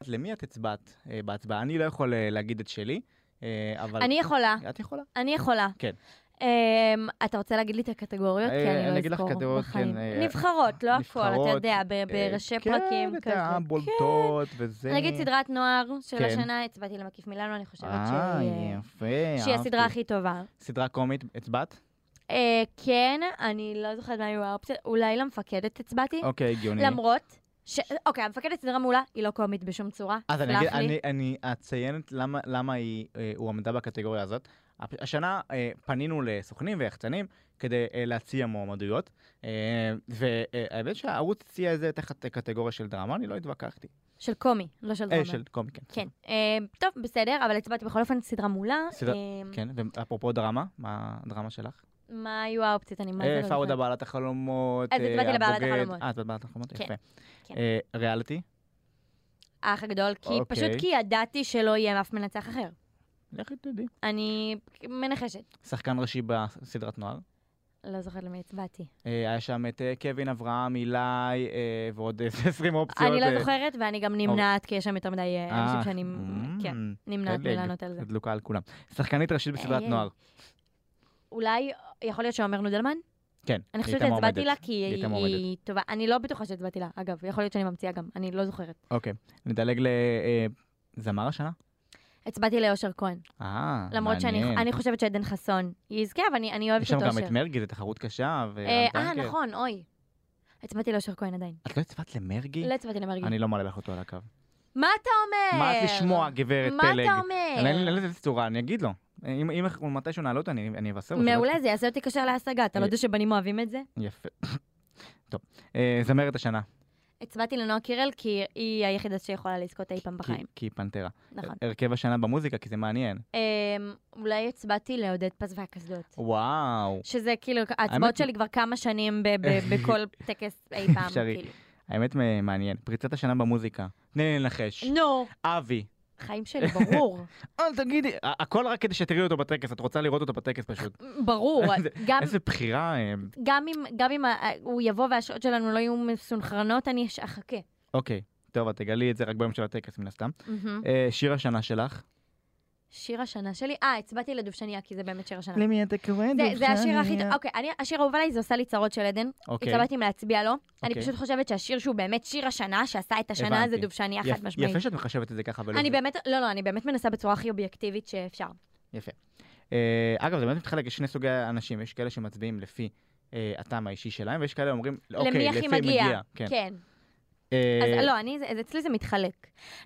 Speaker 1: אז למי את הצבעת אה, בהצבעה? אני לא יכול אה, להגיד את שלי, אה, אבל...
Speaker 2: אני יכולה,
Speaker 1: את יכולה.
Speaker 2: אני יכולה.
Speaker 1: כן.
Speaker 2: אמ, אתה רוצה להגיד לי את הקטגוריות? כי
Speaker 1: אה,
Speaker 2: אני
Speaker 1: אני
Speaker 2: לא
Speaker 1: אגיד לך
Speaker 2: אזכור
Speaker 1: קטגוריות,
Speaker 2: בחיים.
Speaker 1: כן, אה,
Speaker 2: נבחרות, לא הכל, אתה
Speaker 1: נבחרות, אה,
Speaker 2: יודע, ב- בראשי פרקים.
Speaker 1: כן, את
Speaker 2: כזה.
Speaker 1: הבולטות וזה.
Speaker 2: כן. נגיד סדרת נוער של
Speaker 1: כן.
Speaker 2: השנה, הצבעתי למקיף מילאנו, אני חושבת
Speaker 1: אה,
Speaker 2: שהיא, אה,
Speaker 1: יפה,
Speaker 2: שהיא
Speaker 1: אהבתי.
Speaker 2: הסדרה הכי טובה.
Speaker 1: סדרה קומית, הצבעת?
Speaker 2: אה, כן, אני לא זוכרת מה היו האופציות, אולי למפקדת הצבעתי,
Speaker 1: אוקיי, הגיוני.
Speaker 2: למרות... ש... אוקיי, המפקדת סדרה מעולה, היא לא קומית בשום צורה,
Speaker 1: אז אני
Speaker 2: סלח
Speaker 1: אגיד,
Speaker 2: לי.
Speaker 1: אני, אני אציין את למה, למה היא, אה, הוא עמדה בקטגוריה הזאת. הפ- השנה אה, פנינו לסוכנים ויחצנים כדי אה, להציע מועמדויות, אה, והאמת שהערוץ הציע את זה תחת אה, קטגוריה של דרמה, אני לא התווכחתי.
Speaker 2: של קומי, לא של דרמה.
Speaker 1: אה, של קומי, כן.
Speaker 2: כן. אה, טוב, בסדר, אבל הצבעתי בכל אופן סדרה מולה.
Speaker 1: סדרה-
Speaker 2: אה,
Speaker 1: כן, ואפרופו דרמה, מה הדרמה שלך?
Speaker 2: מה היו האופציות? אני מה זה לא
Speaker 1: אה,
Speaker 2: זוכרת.
Speaker 1: פאודה בעלת החלומות,
Speaker 2: אז
Speaker 1: אה,
Speaker 2: הצבעתי לבעלת
Speaker 1: הבוגד.
Speaker 2: החלומות.
Speaker 1: אה, את בעלת החלומות?
Speaker 2: כן,
Speaker 1: יפה.
Speaker 2: כן.
Speaker 1: אה, ריאליטי?
Speaker 2: האח הגדול, כי
Speaker 1: אוקיי.
Speaker 2: פשוט כי ידעתי שלא יהיה אף מנצח אחר.
Speaker 1: לכי תדעי.
Speaker 2: אני מנחשת.
Speaker 1: שחקן ראשי בסדרת נוער.
Speaker 2: לא זוכרת למי הצבעתי.
Speaker 1: אה, היה שם את אה, קווין אברהם, אילי, אה, ועוד איזה 20 אופציות.
Speaker 2: אני
Speaker 1: אה,
Speaker 2: לא זוכרת, ואני גם נמנעת, כי יש שם יותר מדי אה,
Speaker 1: אה,
Speaker 2: אנשים שאני...
Speaker 1: מ-
Speaker 2: כן,
Speaker 1: תן
Speaker 2: נמנעת
Speaker 1: לי,
Speaker 2: מלענות על זה. אה,
Speaker 1: דלוקה על כולם. שחקנית ראשית בסדרת
Speaker 2: איי.
Speaker 1: נוער.
Speaker 2: אולי, יכול להיות שעומר נודלמן?
Speaker 1: כן,
Speaker 2: אני
Speaker 1: היא
Speaker 2: חושבת
Speaker 1: הייתה
Speaker 2: שהצבעתי לה
Speaker 1: מועמדת.
Speaker 2: כי
Speaker 1: הייתה
Speaker 2: היא היא
Speaker 1: מועמדת.
Speaker 2: טובה. אני לא בטוחה שהצבעתי לה, אגב. יכול להיות שאני ממציאה גם, אני לא זוכרת.
Speaker 1: אוקיי, נדלג לזמר השנה?
Speaker 2: הצבעתי ליושר כהן.
Speaker 1: אה,
Speaker 2: למרות שאני
Speaker 1: מעניין.
Speaker 2: אני חושבת שעדן חסון יזכה, אבל אני אני אוהבת
Speaker 1: יש שם
Speaker 2: את
Speaker 1: גם
Speaker 2: אושר.
Speaker 1: את מרגי, זו תחרות קשה. ורן
Speaker 2: אה, אה,
Speaker 1: טנקר.
Speaker 2: נכון, אוי. הצבעתי ליושר כהן עדיין.
Speaker 1: את לא הצבעת למרגי?
Speaker 2: לא הצבעתי למרגי.
Speaker 1: אני לא מעלה לך אותו על הקו.
Speaker 2: מה אתה אומר?
Speaker 1: מה את לשמוע, גברת
Speaker 2: מה
Speaker 1: פלג?
Speaker 2: אתה
Speaker 1: אני לא אין לי
Speaker 2: אומר?
Speaker 1: איזה צורה, אני אגיד לו. אם- אם אנחנו- מתישהו נעלה אותו, אני אני אה, אבשר. לו,
Speaker 2: מעולה, זה יעשה אותי קשה להשגה. אתה לא יודע שבנים אוהבים את זה?
Speaker 1: שלא- יפה. טוב. אה, זמרת השנה.
Speaker 2: הצבעתי לנועה קירל כי היא היחידה שיכולה לזכות אי פעם
Speaker 1: כי- אה,
Speaker 2: בחיים.
Speaker 1: כי היא פנתרה.
Speaker 2: נכון.
Speaker 1: הרכב השנה במוזיקה, כי זה מעניין.
Speaker 2: אמ, אולי הצבעתי לעודד פז והקסדות.
Speaker 1: וואו.
Speaker 2: שזה כאילו, ההצבעות שלי כבר כמה שנים ב- ב- בכל טקס אי פעם.
Speaker 1: אפשרי.
Speaker 2: כאילו.
Speaker 1: האמת מ- מעניין. פריצת השנה במוזיקה. תני לי לנחש.
Speaker 2: נו,
Speaker 1: אבי.
Speaker 2: חיים שלי, ברור.
Speaker 1: אל תגידי. ה- הכל רק כדי שתראי אותו בטקס, את רוצה לראות אותו בטקס פשוט.
Speaker 2: ברור.
Speaker 1: איזה-
Speaker 2: גם-
Speaker 1: איזה בחירה. אה,
Speaker 2: גם אם- גם אם ה- הוא יבוא והשעות שלנו לא יהיו מסונכרנות, אני אש- אחכה.
Speaker 1: אוקיי. טוב, את תגלי את זה רק ביום של הטקס, מן הסתם.
Speaker 2: מהמם.
Speaker 1: אה, שיר השנה שלך.
Speaker 2: שיר השנה שלי, אה, הצבעתי לדובשניה, כי זה באמת שיר השנה.
Speaker 1: למי אתה קורא?
Speaker 2: זה- זה השיר הכי טוב, אוקיי, אני- השיר האהוב עליי זה עושה לי צרות של עדן,
Speaker 1: אוקיי.
Speaker 2: התלבטתי אם להצביע לו, אני
Speaker 1: אוקיי.
Speaker 2: פשוט חושבת שהשיר שהוא באמת שיר השנה, שעשה את השנה,
Speaker 1: הבנתי.
Speaker 2: זה דובשניה
Speaker 1: יפ-
Speaker 2: חד משמעית.
Speaker 1: יפה שאת מחשבת את זה ככה. ולא-
Speaker 2: אני באמת, לא, לא, אני באמת מנסה בצורה הכי אובייקטיבית שאפשר.
Speaker 1: אה, אגב, זה באמת מתחלק לשני סוגי אנשים, יש כאלה שמצביעים לפי אה, הטעם האישי שלהם, ויש כאלה אומרים, אוקיי,
Speaker 2: הכי
Speaker 1: לפי
Speaker 2: מגיע."
Speaker 1: מגיע. כן.
Speaker 2: כן.
Speaker 1: אה,
Speaker 2: אז לא, אני, זה- אז אצלי זה מתחלק.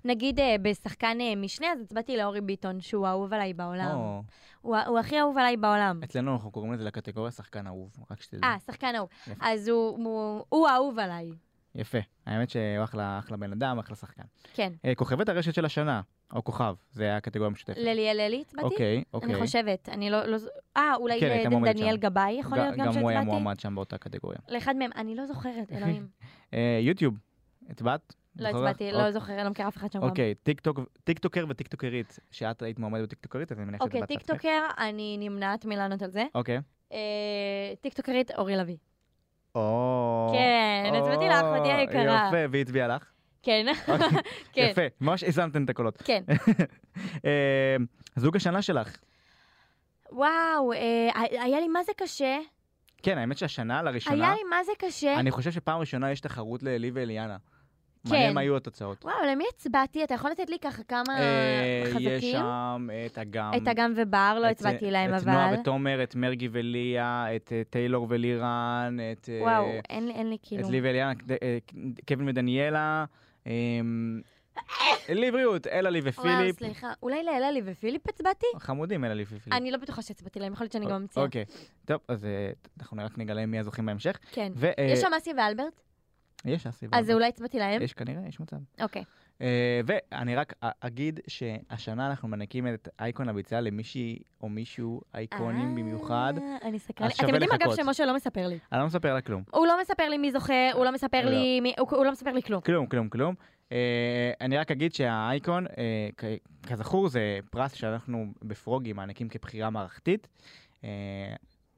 Speaker 2: נגיד אה, בשחקן אה, משנה, אז הצבעתי לאורי ביטון, שהוא האהוב עליי בעולם.
Speaker 1: או,
Speaker 2: הוא ה- הוא הכי אהוב עליי בעולם.
Speaker 1: אצלנו אנחנו קוראים לזה לקטגוריה שחקן אהוב, רק שתדעו.
Speaker 2: אה, שחקן אהוב.
Speaker 1: כאילו. יפה.
Speaker 2: אז הוא- הוא- הוא האהוב עליי.
Speaker 1: יפה. האמת שהוא אחלה אחלה בן אדם, אחלה שחקן.
Speaker 2: כן.
Speaker 1: אה, כוכבת הרשת של השנה, או כוכב, זה הקטגוריה המשותפת.
Speaker 2: לליאל אלי הצבעתי?
Speaker 1: אוקיי, אוקיי.
Speaker 2: אני חושבת, אני לא... לא ז- אה, אולי
Speaker 1: כן, הייתה מועמדת
Speaker 2: לדניאל
Speaker 1: שם.
Speaker 2: גבאי יכול
Speaker 1: ג-
Speaker 2: להיות גם
Speaker 1: גם הוא היה
Speaker 2: שהצבעתי?
Speaker 1: מועמד שם באותה קטגוריה.
Speaker 2: לאחד מהם, אני לא זוכרת, אלוהים.
Speaker 1: אה, יוטיוב, הצבעת?
Speaker 2: לא
Speaker 1: זוכרת?
Speaker 2: הצבעתי,
Speaker 1: אוק-
Speaker 2: לא זוכרת, לא מכירה אף אחד שם גם.
Speaker 1: אוקיי, טיקטוק- טיקטוקר וטיקטוקרית, שאת היית מועמדת בטיקטוקרית, אז אני מניח שאת
Speaker 2: אוקיי, טיקטוקר, אני נמנעת מלענות על זה.
Speaker 1: אוקיי.
Speaker 2: אה, טיקטוקרית אורי לביא.
Speaker 1: או...
Speaker 2: כן,
Speaker 1: או,
Speaker 2: הצבעתי לך, אחותי היקרה.
Speaker 1: יפה, והיא הצביעה לך. אוקיי,
Speaker 2: כן, כן,
Speaker 1: יפה, ממש איזנתם את הקולות.
Speaker 2: כן.
Speaker 1: אה, זוג השנה שלך.
Speaker 2: וואו, אה, היה לי מה זה קשה.
Speaker 1: כן, האמת שהשנה לראשונה,
Speaker 2: היה לי מה זה קשה.
Speaker 1: אני חושב שפעם ראשונה יש תחרות לאלי ואליאנה. מעניין מה היו התוצאות.
Speaker 2: וואו, למי הצבעתי? אתה יכול לתת לי ככה כמה
Speaker 1: אה, יש
Speaker 2: חזקים?
Speaker 1: שם את אגם.
Speaker 2: את אגם ובר,
Speaker 1: אמ,
Speaker 2: לא
Speaker 1: את- אה,
Speaker 2: הצבעתי להם,
Speaker 1: את נועה
Speaker 2: אבל...
Speaker 1: ותומר, את מרגי וליה, את אה, טיילור ולירן, את... אה,
Speaker 2: וואו, אין לי- אין לי כאילו...
Speaker 1: את לי ואליאנה, אה, קווין ודניאלה, אה, לי בריאות, אלה לי
Speaker 2: וואו,
Speaker 1: ופיליפ.
Speaker 2: סליחה. אולי לאלאלי ופיליפ הצבעתי?
Speaker 1: חמודים אלה לפי פיליפ.
Speaker 2: אני לא בטוחה שהצבעתי להם, יכול להיות שאני גם ממציאה.
Speaker 1: אוקיי, טוב, אז אה, אנחנו רק נגלה מי הזוכים בהמשך.
Speaker 2: כן.
Speaker 1: ו- אה,
Speaker 2: יש שם אסי ואלברט?
Speaker 1: יש הסיבה.
Speaker 2: אז אולי הצבעתי להם?
Speaker 1: יש כנראה, יש מצב.
Speaker 2: אוקיי.
Speaker 1: אה, ואני רק א- אגיד שהשנה אנחנו מנקים את אייקון הביצה למישהי או מישהו אייקונים במיוחד.
Speaker 2: אה, אני סקרנית.
Speaker 1: אז שווה
Speaker 2: אתם יודעים אגב
Speaker 1: לחכות.
Speaker 2: שמשה לא מספר לי.
Speaker 1: אני לא מספר לה כלום.
Speaker 2: הוא לא מספר לי מי זוכה, הוא לא מספר
Speaker 1: לא.
Speaker 2: לי מי... הוא הוא לא מספר לי כלום.
Speaker 1: כלום, כלום, כלום. אה, אני רק אגיד שהאייקון, אה, כ- כזכור, זה פרס שאנחנו בפרוגי מעניקים כבחירה מערכתית. אה,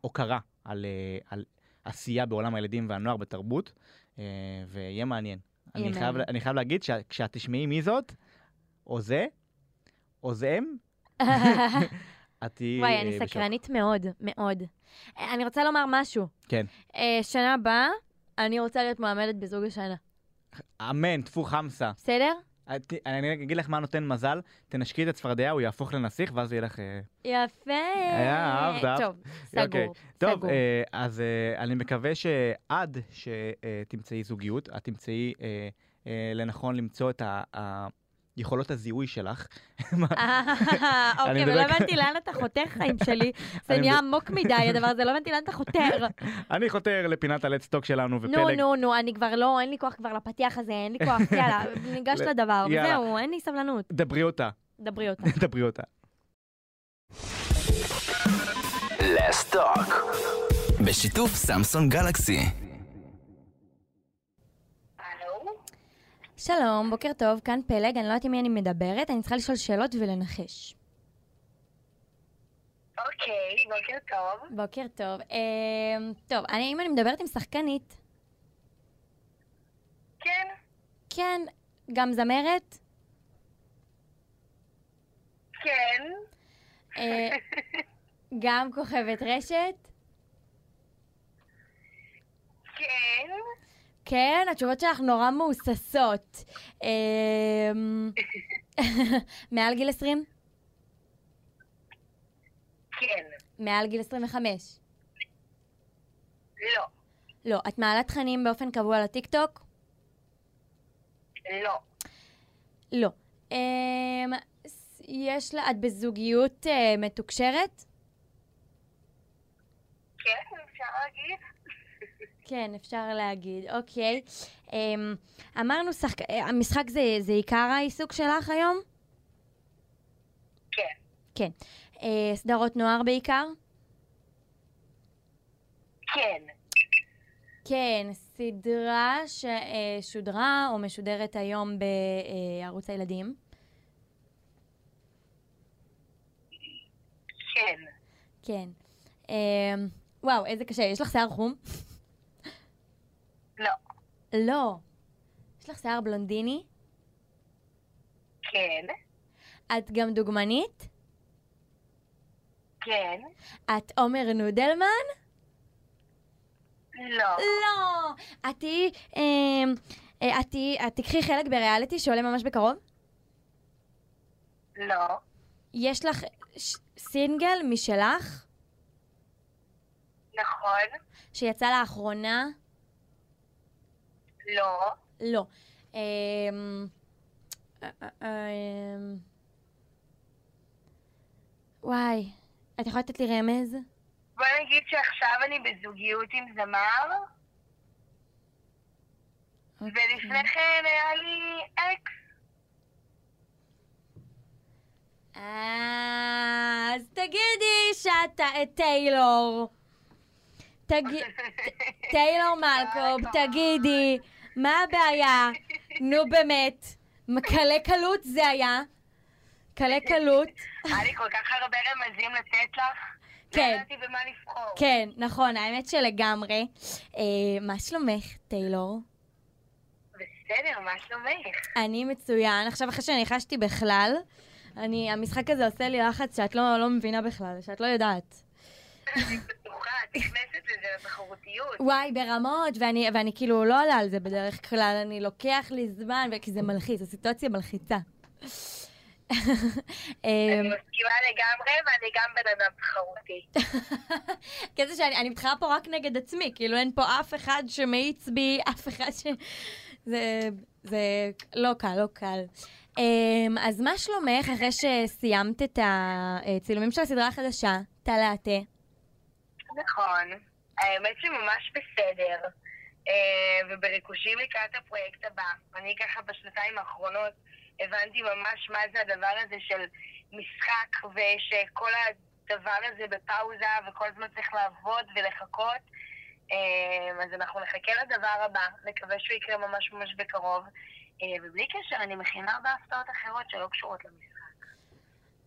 Speaker 1: הוקרה על, אה, על עשייה בעולם הילדים והנוער בתרבות, אה, ויהיה מעניין.
Speaker 2: יהיה
Speaker 1: אני חייב,
Speaker 2: מעניין.
Speaker 1: אני חייב להגיד שכשאת תשמעי מי זאת, או זה, או זה הם, את תהיי
Speaker 2: וואי,
Speaker 1: אה,
Speaker 2: אני
Speaker 1: בשוק.
Speaker 2: סקרנית מאוד, מאוד. אה, אני רוצה לומר משהו.
Speaker 1: כן.
Speaker 2: אה, שנה הבאה, אני רוצה להיות מועמדת בזוג השנה,
Speaker 1: אמן, טפו חמסה.
Speaker 2: בסדר?
Speaker 1: את- אני אגיד לך מה נותן מזל, תנשקי את הצפרדע, הוא יהפוך לנסיך, ואז יהיה לך... אה,
Speaker 2: יפה.
Speaker 1: היה, אהבת, אהבת.
Speaker 2: טוב,
Speaker 1: אוקיי.
Speaker 2: סגור.
Speaker 1: טוב,
Speaker 2: סגור.
Speaker 1: אה, אז אה, אני מקווה שעד אה, שתמצאי זוגיות, את תמצאי אה, אה, לנכון למצוא את ה... ה- יכולות הזיהוי שלך. מה-
Speaker 2: אה,
Speaker 1: אני
Speaker 2: אוקיי,
Speaker 1: מדבר
Speaker 2: ולא
Speaker 1: כ-
Speaker 2: הבנתי לאן אתה חותר חיים שלי. זה
Speaker 1: אני
Speaker 2: נהיה
Speaker 1: מדבר-
Speaker 2: עמוק מדי הדבר הזה, לא הבנתי לאן אתה חותר.
Speaker 1: אני חותר לפינת הלט סטוק שלנו
Speaker 2: נו,
Speaker 1: ופלג.
Speaker 2: נו, נו, אני כבר לא, אין לי כוח כבר לפתיח הזה, אין לי כוח, יאללה, ניגש
Speaker 1: ל-
Speaker 2: לדבר,
Speaker 1: יאללה.
Speaker 2: וזהו, אין לי סבלנות.
Speaker 1: דברי אותה,
Speaker 2: דברי אותה.
Speaker 1: דברי אותה.
Speaker 3: בשיתוף סמסון גלקסי.
Speaker 2: שלום, בוקר טוב, כאן פלג, אני לא יודעת עם מי אני מדברת, אני צריכה לשאול שאלות ולנחש.
Speaker 4: אוקיי, בוקר טוב.
Speaker 2: בוקר טוב. אמ, טוב, אני- אם אני מדברת עם שחקנית,
Speaker 4: כן,
Speaker 2: כן, גם זמרת?
Speaker 4: כן,
Speaker 2: אה, גם כוכבת רשת?
Speaker 4: כן.
Speaker 2: כן, התשובות שלך נורא מהוססות. אמ, מעל גיל 20?
Speaker 4: כן.
Speaker 2: מעל גיל 25.
Speaker 4: לא.
Speaker 2: לא, את מעלה תכנים באופן קבוע לטיקטוק?
Speaker 4: לא.
Speaker 2: לא. אמ, ס- יש לה, את בזוגיות אה, מתוקשרת?
Speaker 4: כן, אפשר להגיד?
Speaker 2: כן, אפשר להגיד, אוקיי. אמ, אמרנו, שחק... אה, המשחק זה, זה עיקר העיסוק שלך היום?
Speaker 4: כן.
Speaker 2: כן. אה, סדרות נוער בעיקר?
Speaker 4: כן.
Speaker 2: כן, סדרה ששודרה או משודרת היום בערוץ הילדים.
Speaker 4: כן.
Speaker 2: כן. אמ, וואו, איזה קשה. יש לך שיער חום?
Speaker 4: לא.
Speaker 2: לא. יש לך שיער בלונדיני?
Speaker 4: כן.
Speaker 2: את גם דוגמנית?
Speaker 4: כן.
Speaker 2: את עומר נודלמן?
Speaker 4: לא.
Speaker 2: לא! את תהיי... אמ, אה, את תהיי... את תיקחי חלק בריאליטי שעולה ממש בקרוב?
Speaker 4: לא.
Speaker 2: יש לך ש- סינגל משלך
Speaker 4: נכון.
Speaker 2: שיצא לאחרונה?
Speaker 4: לא.
Speaker 2: לא. אמ, אה, אה, אמ, וואי, את יכולה לתת לי רמז?
Speaker 4: בוא נגיד שעכשיו אני בזוגיות עם זמר, ולפני
Speaker 2: אוקיי.
Speaker 4: כן היה לי אקס.
Speaker 2: אה, אז תגידי שאתה את טיילור. תגי- ט- טיילור מלקוב, תגידי, מה הבעיה? נו באמת, מה, קלי קלות זה היה. קלי קלות.
Speaker 4: היה לי כל כך הרבה רמזים לתת לך.
Speaker 2: כן.
Speaker 4: לא ידעתי במה לבחור.
Speaker 2: כן, נכון, האמת שלגמרי. אה, מה שלומך, טיילור?
Speaker 4: בסדר, מה שלומך?
Speaker 2: אני מצוין. עכשיו, אחרי שניחשתי בכלל, אני, המשחק הזה עושה לי לחץ שאת לא, לא מבינה בכלל, שאת לא יודעת.
Speaker 4: אני בטוחה, את נכנסת לזה לתחרותיות.
Speaker 2: וואי, ברמות, ואני, ואני כאילו לא עולה על זה בדרך כלל, אני לוקח לי זמן, כי זה מלחיץ, הסיטואציה מלחיצה. אמ, אה,
Speaker 4: אני מסכימה לגמרי, ואני גם בן אדם תחרותי.
Speaker 2: כזה שאני אני מתחרה פה רק נגד עצמי, כאילו אין פה אף אחד שמאיץ בי, אף אחד ש... זה, זה לא קל, לא קל. אמ, אז מה שלומך אחרי שסיימת את הצילומים של הסדרה החדשה, תלעתה?
Speaker 4: נכון. האמת שממש בסדר. אה, ובריקושים לקראת הפרויקט הבא. אני ככה בשנתיים האחרונות הבנתי ממש מה זה הדבר הזה של משחק, ושכל הדבר הזה בפאוזה, וכל הזמן צריך לעבוד ולחכות. אה, אז אנחנו נחכה לדבר הבא, נקווה שהוא יקרה ממש ממש בקרוב. אה, ובלי קשר, אני מכינה הרבה הפתעות אחרות שלא קשורות למשחק.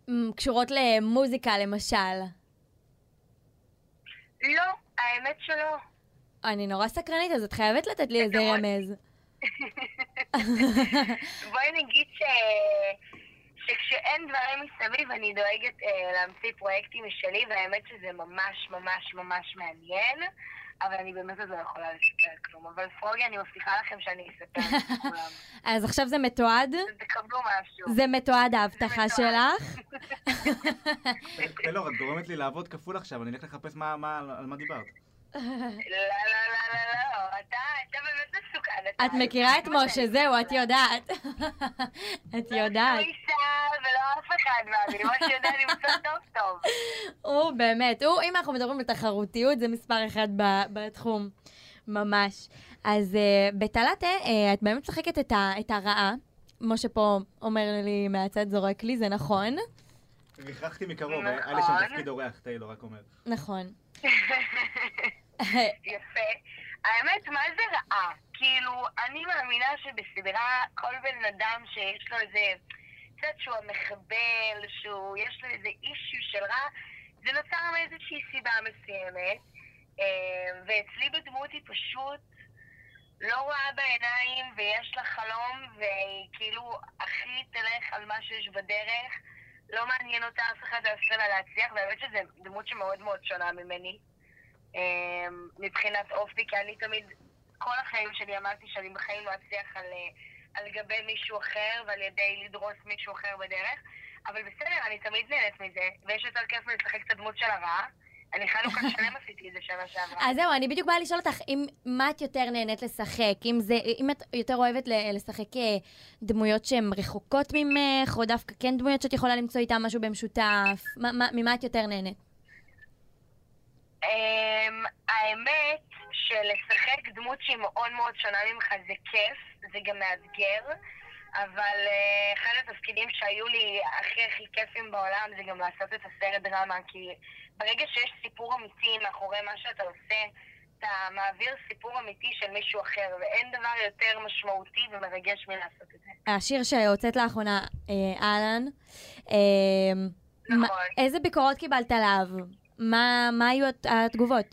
Speaker 2: אמ, קשורות למוזיקה למשל.
Speaker 4: לא, האמת שלא.
Speaker 2: אני נורא סקרנית, אז את חייבת לתת לי איזה
Speaker 4: נכון.
Speaker 2: רמז.
Speaker 4: בואי נגיד ש... שכשאין דברים מסביב, אני דואגת אה, להמציא פרויקטים משלי, והאמת שזה ממש ממש ממש מעניין, אבל אני באמת עוד לא יכולה לספר כלום. אבל פרוגי, אני מבטיחה לכם שאני אספר לכולם.
Speaker 2: אז עכשיו זה מתועד?
Speaker 4: אז תקבלו משהו.
Speaker 2: זה מתועד ההבטחה
Speaker 4: מתועד.
Speaker 2: שלך?
Speaker 1: אלאור, את אה, לא, גורמת לי לעבוד כפול עכשיו, אני אלך לחפש על מה דיברת.
Speaker 4: לא, לא, לא, לא, לא. אתה, אתה באמת מסוכן, לתהליך.
Speaker 2: את מכירה את
Speaker 4: זה מה שאני
Speaker 2: משה, זהו, את יודעת. את יודעת.
Speaker 4: לא עיסה ולא אף אחד מאמין, משה יודע למצוא טוב טוב.
Speaker 2: הוא באמת, הוא, אם אנחנו מדברים על תחרותיות, זה מספר אחד ב- בתחום. ממש. אז uh, בתלאטה, uh, את באמת משחקת את, ה- את הרעה. משה פה אומר לי מהצד זורק לי, זה נכון.
Speaker 5: ריחחתי
Speaker 1: אה,
Speaker 5: מקרוב, היה לי שם תפקיד אורח, טיילור רק אומר.
Speaker 2: נכון.
Speaker 4: יפה. האמת, מה זה רעה? כאילו, אני מאמינה שבסדרה כל בן אדם שיש לו איזה... קצת שהוא המחבל, שהוא... יש לו איזה אישיו של רע, זה נוצר מאיזושהי סיבה מסוימת. אה, ואצלי בדמות היא פשוט לא רואה בעיניים, ויש לה חלום, והיא כאילו הכי תלך על מה שיש בדרך. לא מעניין אותה אף אחד לא יעשה לה להצליח, והאמת שזו דמות שמאוד מאוד שונה ממני. אה, מבחינת אופי, כי אני תמיד, כל החיים שלי אמרתי שאני בחיים לא אצליח על, אה, על גבי מישהו אחר ועל ידי לדרוס מישהו אחר בדרך, אבל בסדר, אני תמיד נהנית מזה, ויש יותר כיף מלשחק את הדמות של הרעה. אני חנוכה שלם עשיתי את זה שנה שעברה.
Speaker 2: אז זהו, אני בדיוק באה לשאול אותך, אם, מה את יותר נהנית לשחק? אם, זה, אם את יותר אוהבת ל- לשחק אה, דמויות שהן רחוקות ממך, או דווקא כן דמויות שאת יכולה למצוא איתן משהו במשותף? מה, מה, ממה את יותר נהנית?
Speaker 4: אמ, האמת שלשחק דמות שהיא מאוד מאוד שונה ממך זה כיף, זה גם מאתגר, אבל אה, אחד התפקידים שהיו לי הכי הכי כיפים בעולם זה גם לעשות את הסרט דרמה, כי ברגע שיש סיפור אמיתי מאחורי מה שאתה עושה, אתה מעביר סיפור אמיתי של מישהו אחר, ואין דבר יותר משמעותי ומרגש מלעשות את זה.
Speaker 2: השיר שהוצאת לאחרונה, אה, אהלן, אה,
Speaker 4: נכון.
Speaker 2: מה- איזה ביקורות קיבלת עליו? מה, מה היו הת- התגובות?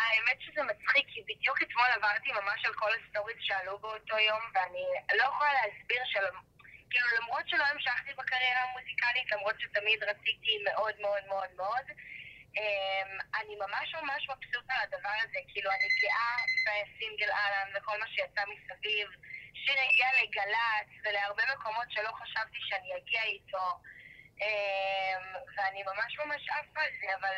Speaker 4: האמת שזה מצחיק, כי בדיוק אתמול עברתי ממש על כל הסטוריז שעלו באותו יום, ואני לא יכולה להסביר של... כאילו, למרות שלא המשכתי בקריירה המוזיקלית, למרות שתמיד רציתי מאוד מאוד מאוד מאוד, אמ, אני ממש ממש מבסוטה על הדבר הזה. כאילו, אני גאה בסינגל אהלן וכל מה שיצא מסביב. שיר הגיע לגל"צ ולהרבה מקומות שלא חשבתי שאני אגיע איתו, אמ, ואני ממש ממש עפה על זה, אבל...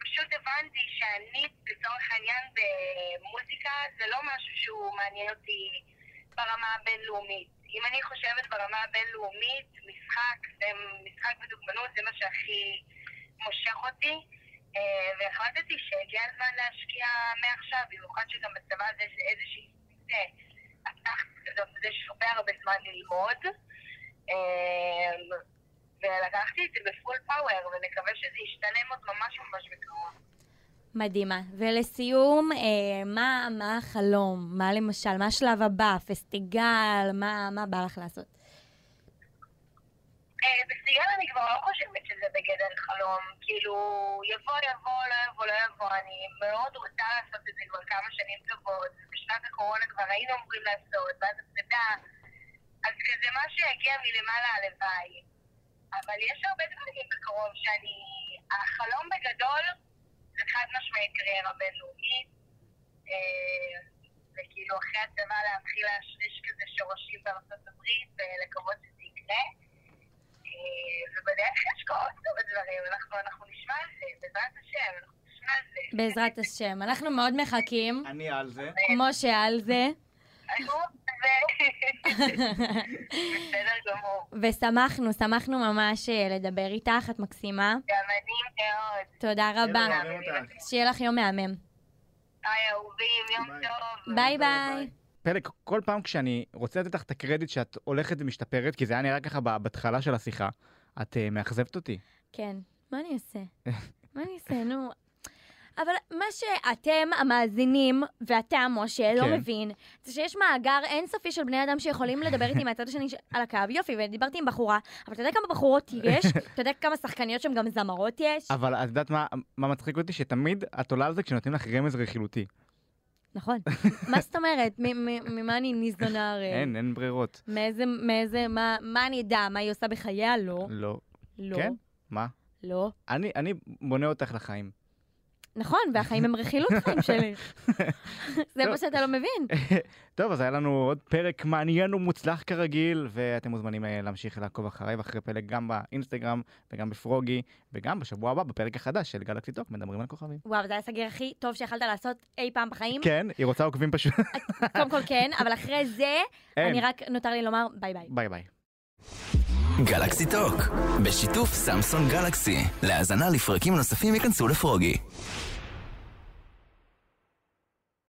Speaker 4: פשוט הבנתי שאני, לצורך העניין, במוזיקה זה לא משהו שהוא מעניין אותי ברמה הבינלאומית. אם אני חושבת ברמה הבינלאומית, משחק, זה- משחק ודוגמנות זה מה שהכי מושך אותי. אה, והחלטתי שהגיע הזמן להשקיע מעכשיו, במיוחד שגם בצבא הזה יש איזושהי אה, אתנחת כזאת, אז יש הרבה הרבה זמן ללמוד. אה, ולקחתי את זה בפול פאוור, ונקווה שזה ישתנה עוד ממש ממש בקרוב.
Speaker 2: מדהימה. ולסיום, אה, מה, מה החלום? מה למשל? מה השלב הבא? פסטיגל? מה, מה בא לך לעשות?
Speaker 4: אה, בסיגל אני כבר לא חושבת שזה בגדר חלום. כאילו, יבוא, יבוא, לא יבוא, לא יבוא. אני מאוד רוצה לעשות את זה כבר כמה שנים טובות, ובשנת הקורונה כבר היינו אמורים לעשות, ואז הפסדה. אז כזה מה שיגיע מלמעלה הלוואי. אבל יש הרבה דברים בקרוב שאני... החלום בגדול זה חד משמעית קריירה בינלאומית. אה, וכאילו אחרי הצבא להתחיל להשריש כזה שורשים בארצות הברית ולקוות שזה יקרה. אה, ובדרך יש כל מיני דברים, אנחנו, אנחנו נשמע על זה, בעזרת השם, אנחנו נשמע על זה.
Speaker 2: בעזרת השם. אנחנו מאוד מחכים.
Speaker 5: אני על זה.
Speaker 2: משה על זה.
Speaker 4: נו, זה- בסדר גמור.
Speaker 2: ושמחנו, שמחנו ממש אה, לדבר איתך, את מקסימה.
Speaker 4: גם אני מאוד.
Speaker 2: תודה רבה.
Speaker 1: לא
Speaker 5: טיילור, אוהבים אותך.
Speaker 2: שיהיה לך יום מהמם.
Speaker 4: היי אהובים, יום
Speaker 5: ביי.
Speaker 4: טוב.
Speaker 2: ביי
Speaker 5: תודה,
Speaker 2: ביי.
Speaker 1: פלג, כל פעם כשאני רוצה לתת לך את הקרדיט שאת הולכת ומשתפרת, כי זה היה נראה ככה ב- בהתחלה של השיחה, את אה, מאכזבת אותי.
Speaker 2: כן, מה אני אעשה? מה אני אעשה, נו? אבל מה שאתם, המאזינים, ואתה, משה, לא
Speaker 1: כן.
Speaker 2: מבין, זה שיש מאגר אינסופי של בני אדם שיכולים לדבר איתי מהצד השני של- על הקו. יופי, ודיברתי עם בחורה, אבל אתה יודע כמה בחורות יש? אתה יודע כמה שחקניות שהן גם זמרות יש?
Speaker 1: אבל את יודעת מה, מה מצחיק אותי? שתמיד את עולה על זה כשנותנים לך רמז רכילותי.
Speaker 2: נכון. מה זאת אומרת? מ- מ- ממה אני ניזונה הרי?
Speaker 1: אין, אין ברירות.
Speaker 2: מאיזה, מאיזה, מה, מה אני אדע? מה היא עושה בחייה? לא.
Speaker 1: לא.
Speaker 2: לא.
Speaker 1: כן? מה?
Speaker 2: לא.
Speaker 1: אני, אני בונה אותך לחיים.
Speaker 2: נכון, והחיים הם רכילות חיים שלי. זה
Speaker 1: טוב.
Speaker 2: מה שאתה לא מבין.
Speaker 1: טוב, אז היה לנו עוד פרק מעניין ומוצלח כרגיל, ואתם מוזמנים אה, להמשיך לעקוב אחריי ואחרי פלג גם באינסטגרם וגם בפרוגי, וגם בשבוע הבא בפרק החדש של גלקסי טוק, מדברים על כוכבים.
Speaker 2: וואו, זה היה הסגיר הכי טוב שיכלת לעשות אי פעם בחיים.
Speaker 1: כן, היא רוצה עוקבים פשוט.
Speaker 2: קודם כל כן, אבל אחרי זה,
Speaker 1: אין.
Speaker 2: אני רק, נותר לי לומר ביי ביי.
Speaker 1: ביי ביי.
Speaker 3: גלקסי טוק, בשיתוף סמסון גלקסי. להאזנה לפרקים נוספים ייכנסו לפרוגי.